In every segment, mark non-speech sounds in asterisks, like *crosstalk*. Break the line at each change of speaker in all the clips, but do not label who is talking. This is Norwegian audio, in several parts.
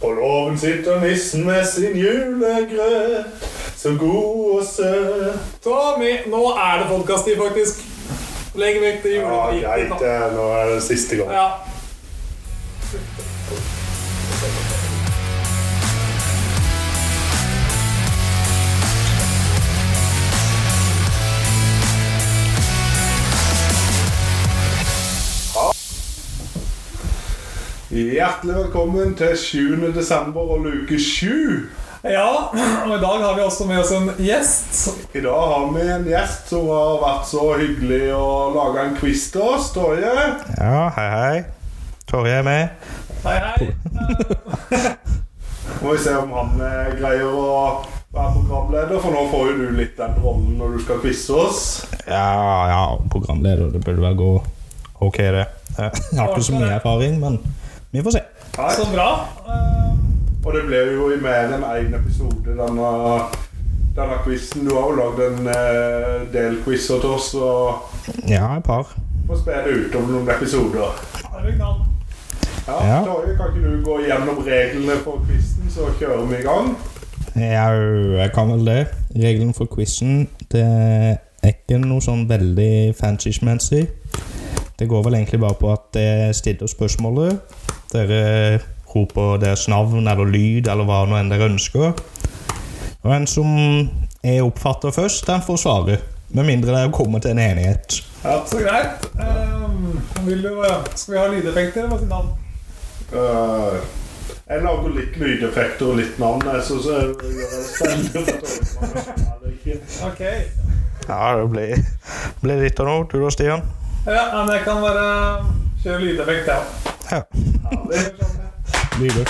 På låven sitter nissen med sin julegrøt, så god og søt.
Tommy, nå er det podkast-tid, faktisk. Legg vekk det
Ja, greit,
julebiten.
det er- nå er det siste gang.
Ja.
Hjertelig velkommen til 7. desember og luke 7.
ja, og i dag har vi også med oss en gjest.
I dag har vi en gjest som har vært så hyggelig å lage en quiz til oss, Torje.
Ja, hei, hei. Torje er med.
Hei, hei.
Må vi se om han eh, greier å være programleder, for nå får jo du litt den rollen når du skal quize oss.
Ja, ja, programleder. Det burde vel gå ok, det. Eh, Jeg har ikke så mye erfaring, men vi får se.
Hei.
Så bra. Eh,
Og det ble jo i mer enn én episode, denne, denne quizen. Du har jo lagd en eh, del quizer til oss, og
Ja, et par.
må spe det ut om noen episoder.
Eh, er vi knall?
Ja,
Ja.
Torje, kan ikke du gå gjennom reglene for quizen, så kjører vi i gang?
Jau, jeg kan vel det. Regelen for quizen det er ikke noe sånn veldig fancy-schmancy. Det går vel egentlig bare på at jeg stiller spørsmålet. Dere roper deres navn eller lyd eller hva nå enn dere ønsker. Og en som jeg oppfatter først, den får svare. Med mindre dere kommer til en enighet.
Ja.
Så greit. Eh, vil du, skal vi ha lydeffekter? Hva sier navn?
Eh, jeg lager litt lydeffekter og litt navn, jeg, så så gjør jeg det spennende for Torje. om han skjønner det eller ikke.
Ok.
Ja, det blir, blir litt av noe. Du da, Stian?
Ja, men jeg kan bare kjøre lydeffekt, jeg ja.
Ja.
Herlig.
Lyder.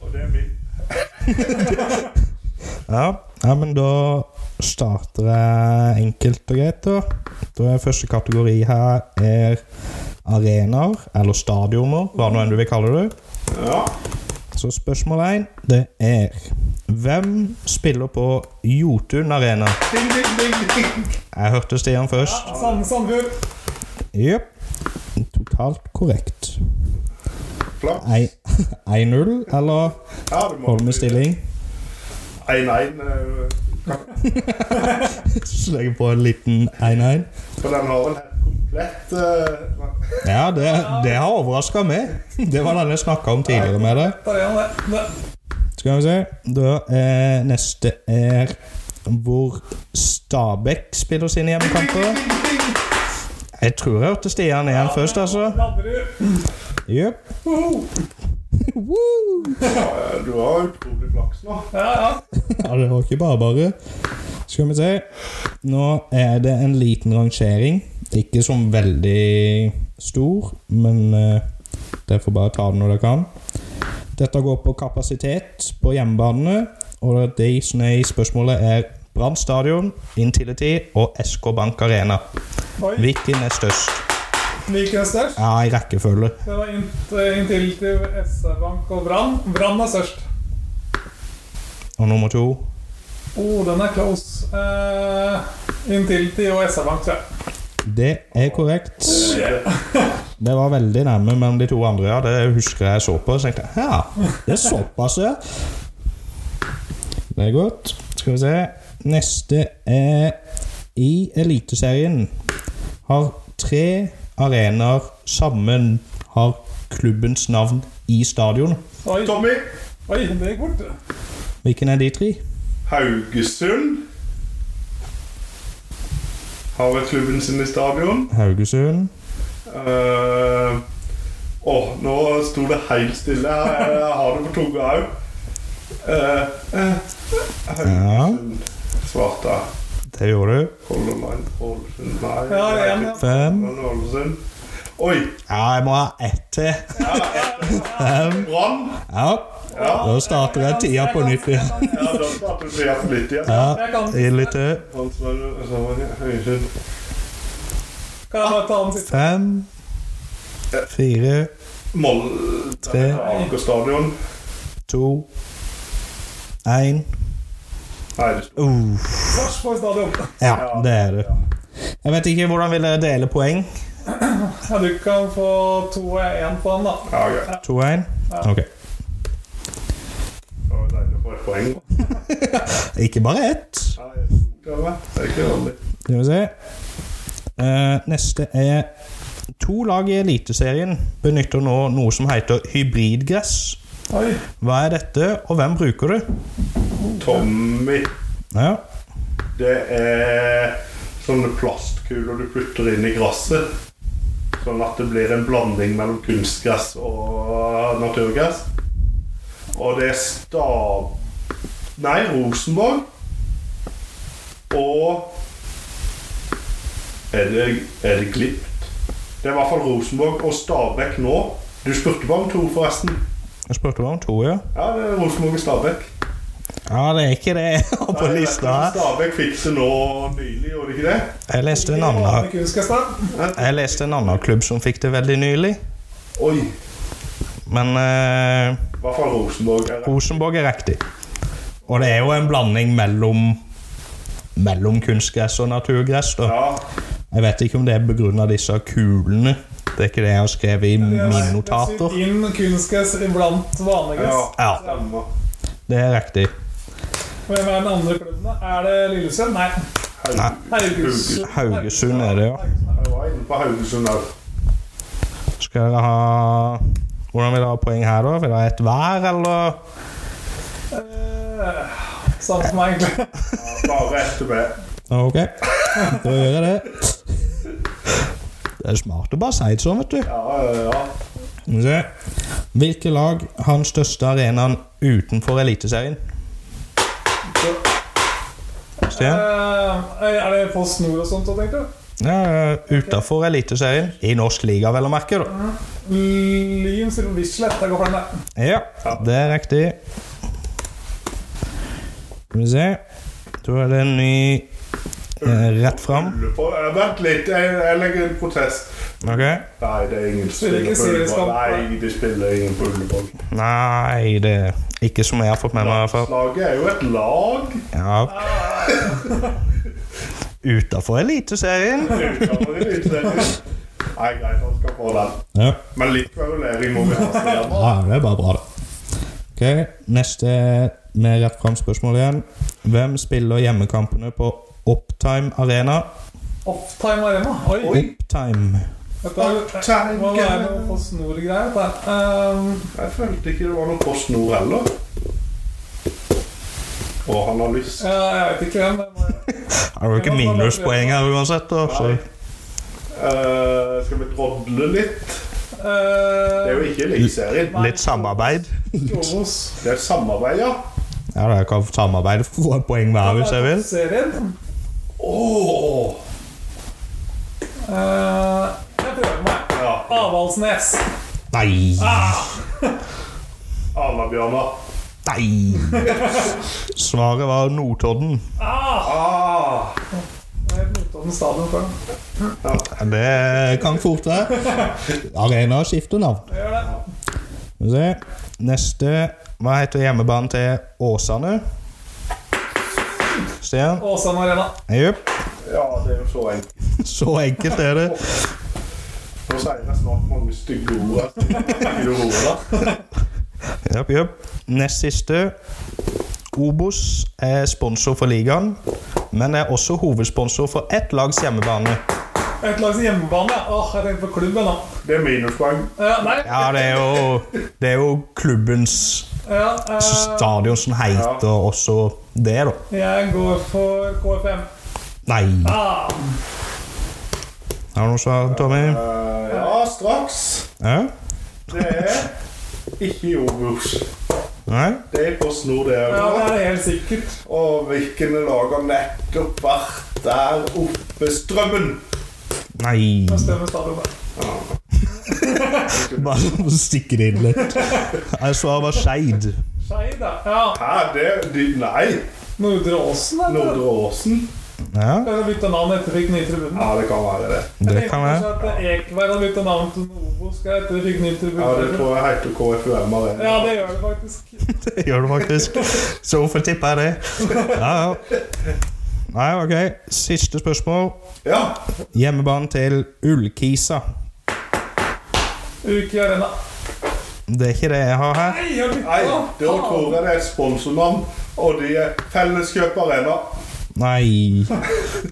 Og det er min.
Ja. ja, men da starter jeg enkelt og greit, da. Da er første kategori her er arenaer, eller stadioner, hva nå enn du vil kalle det.
Ja.
Så spørsmål én, det er Hvem spiller på Jotun Arena?
Ding, ding, ding, ding. Sånn,
Jeg hørte Stian først.
Ja, Sand- Sandfjord.
Jepp. Totalt korrekt.
Flott.
Ei- *laughs* 1-0, eller
Ja, du må
holder vi *laughs* stilling?
1-1. eh,
Så legger jeg på en liten 1-1.
For den har vel helt komplett eh,
Ja, det, det har overraska meg. Det var den jeg snakka om tidligere med deg.
Tar igjen det. det.
Skal vi se. Da eh, Neste er hvor Stabæk spiller sine hjemmekamper.
Ding, ding, ding.
Jeg tror jeg hørte Stian igjen først, altså.
Nadderud.
Jøp.
Woho.
*laughs*
eh, Du har utrolig flaks nå.
Ja, ja.
Ja, det var ikke bare bare. Skal vi se. Nå er det en liten rangering. Ikke som veldig stor, men eh, dere får bare ta det når dere kan. Dette går på kapasitet på hjemmebane, og de som er i spørsmålet er Brann stadion, Intility og SK Bank Arena.
Oi.
Hvilken er størst?
Hvilken er størst?
Ja, i rekkefølge.
Det var int- inntil til SR-Bank og Brann. Brann er størst.
Og nummer to?
Å, oh, den er close. Eh, inntil til og SR-Bank, tror jeg.
Det er korrekt. Det var veldig nærme, men de to andre ja, det husker jeg så på. Så tenkte jeg, ja, det er såpass, ja. Det er godt. Skal vi se. Neste er I Eliteserien har tre arenaer sammen har klubbens navn i stadion.
Oi,
Tommy
Oi det gikk fort.
Hvilken er de tre?
Haugesund har vel klubben sin i stadion.
Haugesund.
Eh, Åh, nå sto det helt stille. Jeg, jeg har det på tunga òg. Haugesund svarte jeg.
Det gjorde du.
Color Line Ålesund Nei.
Ja,
det er
igjen,
ikke
ja.
Fem.
Color Line, Ålesund. Oi!
Ja, jeg må ha ett til. Fem.
Brann!
Ja. Da starter jeg tida på nytt igjen.
Ja, da starter vi igjen litt igjen.
Jeg
Ja,
kan-
gi litt til.
Brann, Stavanger, Stavanger, Haugesund.
Kan jeg bare ta den siste?
Fem, fire,
Moll...
Tre.
Aker stadion.
to, én
Nei, det sto
Uff.
Sarpsborg stadion.
Uh, Ja, det er det. Jeg vet ikke hvordan vil dere dele poeng.
Ja, du kan få to og én på den, da.
Ja, greit.
2-1? Ok.
poeng.
Ikke bare ett.
Nei, det er bra. Det er ikke vanlig.
Skal vi se. Eh, neste er To lag i Eliteserien benytter nå noe som heter hybridgress.
Oi.
Hva er dette, og hvem bruker det?
Tommy,
Ja,
det er sånne plastkuler du putter inn i gresset. Sånn at det blir en blanding mellom kunstgress og naturgress. Og det er Stav... Nei, Rosenborg. Og er det, er det Glimt? Det er i hvert fall Rosenborg og Stabæk nå. Du spurte bare om to, forresten.
jeg spurte bare om to, ja.
Ja, det er Rosenborg og Stabæk.
Ja, det er ikke det jeg har på
Nei,
lista her.
Stabæk fikk det nå nylig, gjorde de ikke det?
Jeg leste en annen,
Ikke husker jeg snart.
jeg leste en annen klubb som fikk det veldig nylig.
Oi,
Men eh,
i hvert fall Rosenborg. er det.
Rosenborg er riktig. Og det er jo en blanding mellom Mellom kunstgress og naturgress. da
Ja,
Jeg vet ikke om det er begrunna disse kulene. Det er ikke det jeg har skrevet i mine notater.
Sydd inn kunstgress iblant vanlig
ja,
gress.
Ja,
stemmer.
det er riktig.
Hvem er den andre klubben? da? Er det Lillesund? Nei.
Hei,
Haugesund.
Haugesund er det, ja.
Haugesund.
Jeg var inne på Haugesund òg.
Skal dere ha Hvordan vil dere ha poeng her, da? Vil dere ha ett hver, eller?
Eh, Samme for meg, egentlig.
Bare etter det.
Ok, *laughs* da gjør jeg det. Det er smart å bare si det sånn, vet du.
Ja, ja, ja.
Skal vi se. Hvilke lag har den største arenaen utenfor Eliteserien? Stian?
Eh, er det Post Nord og sånt, da, tenker du?
Ja, utenfor Eliteserien. I norsk liga, vel å merke. da.
Lyn, Silver Bislett. Jeg går for den der.
Ja, det er riktig. Skal vi se. Da er det en ny eh, rett fram.
Ulle på- eh, Vent litt, jeg, jeg legger en protest.
Ok.
Nei, det er ingen som
Spiller ikke
spiller på Ullevål.
seriekamp, nei.
Nei, de spiller ingen på Ullevål.
Nei, det er ikke som jeg har fått med meg, i hvert fall.
Slaget er jo et lag.
Ja. Utenfor Eliteserien.
Nei, greit, han skal få den.
Ja.
Men litt kverulering må vi ha. Stian.
Ja, det er bare bra, det. Ok, Neste med rett fram spørsmål igjen. Hvem spiller hjemmekampene på Optime Arena?
Optime Arena. Oi!
Optime.
Dette er,
Optime
hva er det
Arena.
Post Nord-greier? Uh,
Jeg følte ikke det var noe Post Nord heller. Og han har lyst.
ja, jeg vet ikke hvem. eh, det må jeg-
Har jo ikke minuspoeng her uansett. Da, så.
Eh, skal vi drodle litt? *laughs* Det er
Eh,
jo ikke Eliteserien.
Litt samarbeid.
Obos.
Det er samarbeid, ja.
Ja, da, Jeg kan samarbeide for å få et poeng hver hvis jeg vil.
Serien.
Åh!
Eh, jeg prøver meg.
Ja.
Avaldsnes.
Nei!
Arna-Bjørnar.
Nei! Svaret var Notodden.
Ah!
Jeg er på Notodden stadion før.
Det kan fort være. Arena skifter navn.
Jeg gjør det.
Skal vi se. Neste Hva heter hjemmebanen til Åsane? Stian?
Åsane Arena.
Jupp.
Ja, det er jo så enkelt.
Så enkelt er det.
Nå sier jeg snart mange stygge ord. *laughs* Stygge ord da.
Jupp, jupp. Nest siste. Obos er sponsor for ligaen, men er også hovedsponsor for ett lags hjemmebane.
Et lags hjemmebane. ja. Åh, jeg tenkte på klubben, da.
Det er minuspoeng.
Eh, nei.
Ja, det er jo, det er jo klubbens
Ja, eh,
stadion som heter også det, da.
jeg går for KFM.
Nei.
Ah,
Har du noe svar, Tommy?
Eh, ja, straks.
Ja?
Det er ikke i Obos.
Nei?
Det er på snor, det
ja, det
òg.
er helt sikkert.
Og hvilken lag har nettopp vært der oppe? Strømmen!
Nei.
Jeg stemmer stadion. da.
Bare sånn stikke det inn litt. Jeg svaret var Skeid.
Skeid, ja. ja.
Hæ, det de, Nei!
Nordre Åsen, eller?
Nordre Åsen.
Ja,
Jeg har bytta navn etter vi fikk ny tribune.
Ja, det kan være det.
det kan være.
Jeg tenkte kanskje at Ekberg har bytta navn til Novo skal etter vi fikk ny tribune.
Ja, det tror jeg heter KFUM Arena.
Ja, det gjør det faktisk.
Det gjør du faktisk. Så hvorfor tipper jeg det? Ja, ja. Nei, ok. Siste spørsmål.
Ja,
Hjemmebane til Ullkisa.
Uke i arena.
Det er ikke det jeg har her.
Nei, jeg fikk
Nei,
Å,
da tror jeg det er et sponsornavn, og de er Felleskjøp Arena.
Nei.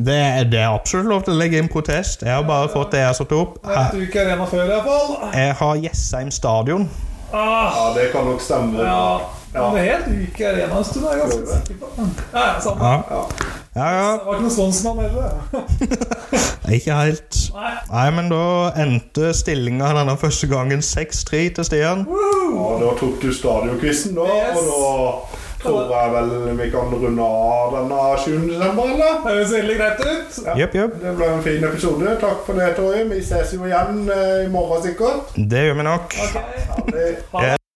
Det, er- det er absolutt lov til å legge inn protest. Jeg har bare fått det jeg har satt opp.
Vet du ikke arena før, i hvert fall?
Jeg har Jessheim stadion.
Ah,
Ja, det kan nok stemme.
ja.
Ja.
Men det er helt uke i arena en stund, er jeg ganske sikker på. Ja, ja, samme.
Ja,
Ja.
ja. ja.
Det var ikke noen sponsornavn heller.
Ikke helt.
Nei.
Nei, men da endte stillinga denne første gangen 6-3 til Stian.
Ja, da tok du stadionquizen, da.
Yes.
Og da tror jeg vel vi kan runde av denne 7. desember, eller?
Det høres veldig greit ut.
Ja.
Jepp, jepp.
Det ble en fin episode. Takk for det, Torje. Vi ses jo igjen eh, i morgen, sikkert.
Det gjør vi nok.
Ok.
Ha det.
Ha det.